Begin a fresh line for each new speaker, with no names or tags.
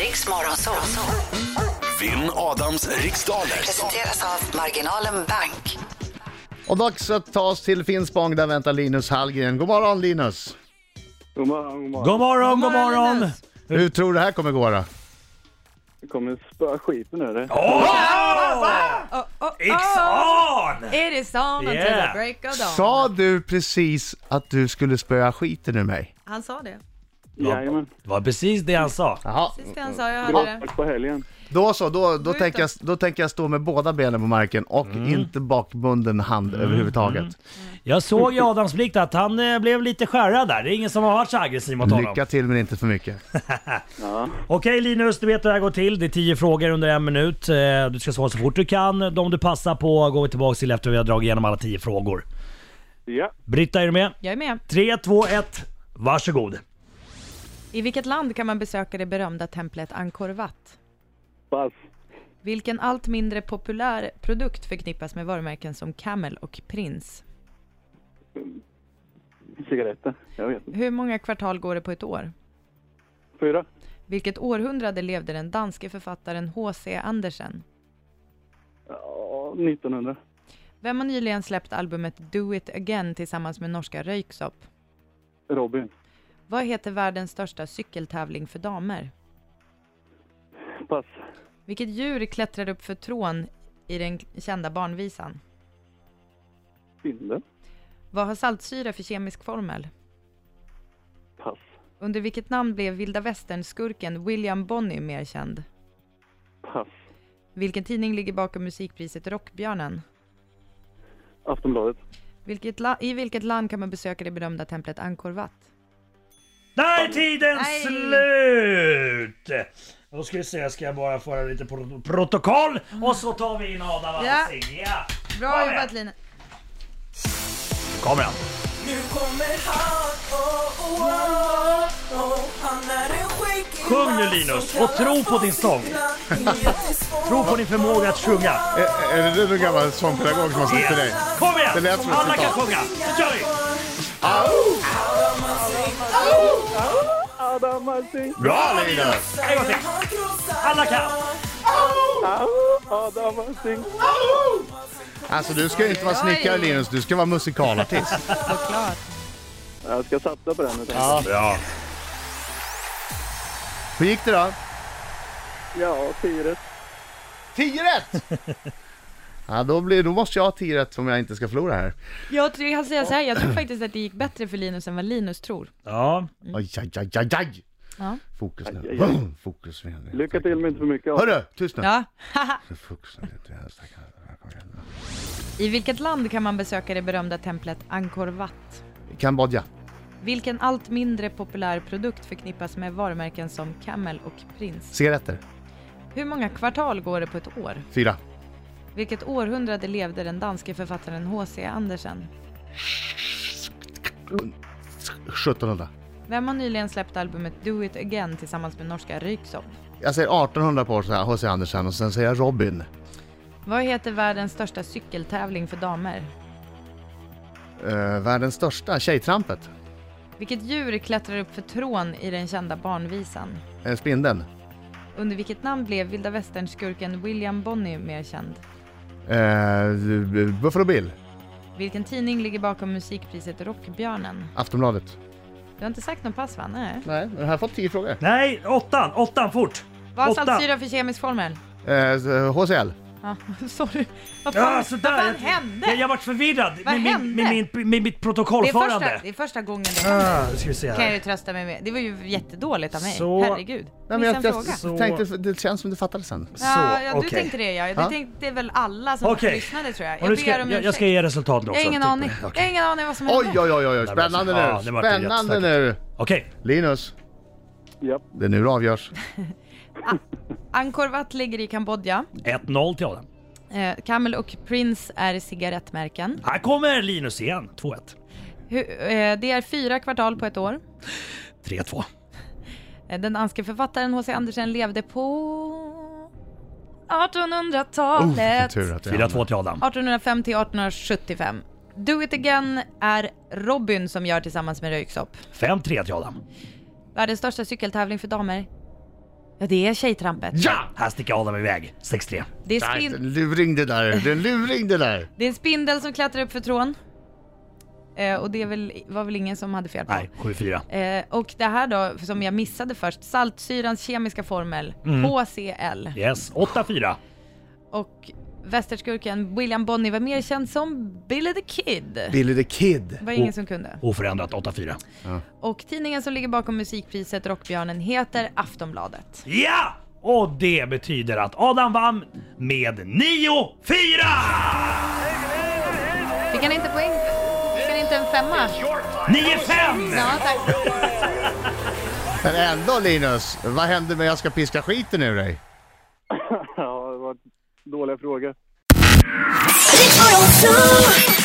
Riks Morgonzoo.
Vinn Adams riksdaler.
Presenteras av Marginalen Bank.
Och dags att ta oss till Finspång, där väntar Linus Hallgren. God morgon Linus!
God morgon, god morgon.
God morgon, god morgon!
Linus.
Hur tror du det här kommer gå då?
Det kommer spöa skiten ur dig.
Åh!
Oh, oh, oh.
Ixan!
It is on until
Yeah.
the break of dawn.
Sa du precis att du skulle spöa skiten ur mig?
Han sa det.
Jajamän.
Det var precis det han sa.
Jaha,
Sist han sa jag hörde det.
Gråtack på helgen.
då så, då, då,
Skjut
tänker jag, då tänker jag stå med båda benen på marken och inte bakbunden hand överhuvudtaget.
Jag såg i Adams blick att han eh, blev lite skärrad där. Det är ingen som har varit så aggressiv mot honom.
Lycka till men inte för mycket.
Ja.
Okej Linus, du vet hur det här går till. Det är tio frågor under en minut. Eh, Du ska svara så fort du kan. De du passar på går vi tillbaka till efter vi har dragit igenom alla tio frågor.
ja.
Britta, är du med?
Jag är med.
3, 2, 1. Varsågod.
I vilket land kan man besöka det berömda templet Angkor Wat?
Pass.
Vilken allt mindre populär produkt förknippas med varumärken som Camel och Prins?
Cigaretter. Jag vet inte.
Hur många kvartal går det på ett år?
Fyra.
Vilket århundrade levde den danske författaren H.C. Andersen?
Ja, 1900.
Vem har nyligen släppt albumet Do It Again tillsammans med norska Röyksopp?
Robin.
Vad heter världens största cykeltävling för damer?
Pass.
Vilket djur klättrar upp för trån i den kända barnvisan?
Spindel.
Vad har saltsyra för kemisk formel?
Pass.
Under vilket namn blev vilda västern-skurken William Bonney mer känd?
Pass.
Vilken tidning ligger bakom musikpriset Rockbjörnen?
Aftonbladet.
Vilket la- I vilket land kan man besöka det berömda templet Angkor Wat?
Där är tiden
Nej.
slut! Då ska vi se, ska jag bara föra lite pro- protokoll och så tar vi in Adam
Ja.
Alsing. Ja.
Bra
Kom igen.
jobbat Lina!
Kommer han.
Nu kommer han, oh, oh, oh, oh. Han är en skäggig
Sjung
man
nu, Linus,
som
och
kallar
tro på din
folk
sång.
vid namn. Jättesvår.
Tro på din förmåga att sjunga.
Är, är det du någon gammal sångpedagog som har sagt till dig?
Kom igen!
Det lät som ett
Alla kan
citat.
sjunga. Nu kör vi!
Adam Alsing!
Bra Linus! En gång till.
Han krossar
Alla kan.
Adam Alsing!
Alltså du ska ju inte vara snickare Linus, du ska vara musikalartist.
Såklart!
Jag ska satsa på den. Jag ja.
Ja. Bra.
Hur gick det då?
ja, tio rätt.
10 rätt! Ja, då, blir, då måste jag ha 10 rätt om jag inte ska förlora här.
Jag tror, jag kan säga så här, jag tror faktiskt att det gick bättre för Linus än vad Linus tror.
Ja.
Aj, aj, aj, aj, aj.
Ja.
Fokus nu.
Mm. Aj, aj, aj.
Boom! Fokus.
Lycka till men inte för mycket.
Hörru, tyst nu.
ja.
Fokus nu. lite vänster. Kom igen nu.
I vilket land kan man besöka det berömda templet Angkor Wat?
Kambodja.
Vilken allt mindre populär produkt förknippas med varumärken som Camel och Prins?
Cigaretter.
Hur många kvartal går det på ett år?
Fyra.
Vilket århundrade levde den danske författaren H.C. Andersen?
1700.
Vem har nyligen släppt albumet Do It Again tillsammans med norska Ryksopp?
Jag säger 1800 på så här, H.C. Andersen och sen säger jag Robin.
Vad heter världens största cykeltävling för damer?
Eh, världens största, Tjejtrampet.
Vilket djur klättrar upp för trån i den kända barnvisan?
Eh, spindeln.
Under vilket namn blev vilda västern-skurken William Bonney mer känd?
Eh, Buffalo Bill.
Vilken tidning ligger bakom musikpriset Rockbjörnen?
Aftonbladet.
Du har inte sagt någon pass va? Nej.
Nej, men här har fått 10 frågor.
Nej, åttan. Åttan, fort.
Vad har
Åtta.
saltsyra för kemisk formel?
Eh, HCL.
Ja, sorry. Vad fan,
Ja, sådär.
vad fan hände?
Ah, Jag, jag vart förvirrad
Vad
med, min,
hände?
med, min, med, mitt
det, är
protokollförande.
första, det är första gången det händer.
Ah, nu ska vi se
kan jag
här.
ju trösta mig med. Det var ju jättedåligt av mig.
Så-
Herregud.
Nej,
Missa
jag,
en
jag
fråga.
Så-
tänkte, det känns som du fattade sen.
ja, ja, du
okej.
tänkte det ja. Det
Ja.
tänkte väl alla som
Okej.
lyssnade tror jag.
Och
Jag
nu
ber
ska, jag,
om
jag
ursäkt.
ska ge resultatet också. Typ.
Jag har ingen aning. Jag har ingen aning vad som hände.
Oj, oj, oj, oj, spännande
alltså, Ja,
nu.
det var inte
Spännande
rätt,
nu.
Okej.
Linus,
Ja.
det är nu det avgörs.
Angkor Wat ligger i Kambodja.
1-0 till Adam.
Eh, Camel och Prince är cigarettmärken.
Här kommer Linus igen. 2-1.
Hu- eh, det är fyra kvartal på ett år.
3-2.
Eh, Den danske författaren H.C. Andersen levde på 1800-talet.
Oh, tur att det
4-2 till Adam.
1805 till 1875. Do It Again är Robin som gör tillsammans med Röyksopp.
5-3 till Adam.
Världens största cykeltävling för damer. Ja, det är tjejtrampet.
Ja! Här sticker Adam iväg. 6-3.
Det är,
Nej, det är
spin-
en luring det där. Det är en luring det där.
det är en spindel som klättrar upp för trån. Eh, och det är väl, var väl ingen som hade fel på.
Nej, 7-4.
Eh, och det här då, som jag missade först, saltsyrans kemiska formel, HCl.
Yes, 8-4.
Och västerskurken William Bonney var mer känd som Billy the Kid. Det
Billy the Kid.
var ingen som kunde.
Oförändrat 8-4.
Och tidningen som ligger bakom musikpriset Rockbjörnen heter Aftonbladet.
Ja! Och det betyder att Adam vann med 9-4!
Fick han inte poäng? Fick han inte en femma?
9-5!
Ja, tack.
Men ändå Linus, vad händer med jag ska piska skiten ur dig?
ja, det var dåliga frågor.
Riks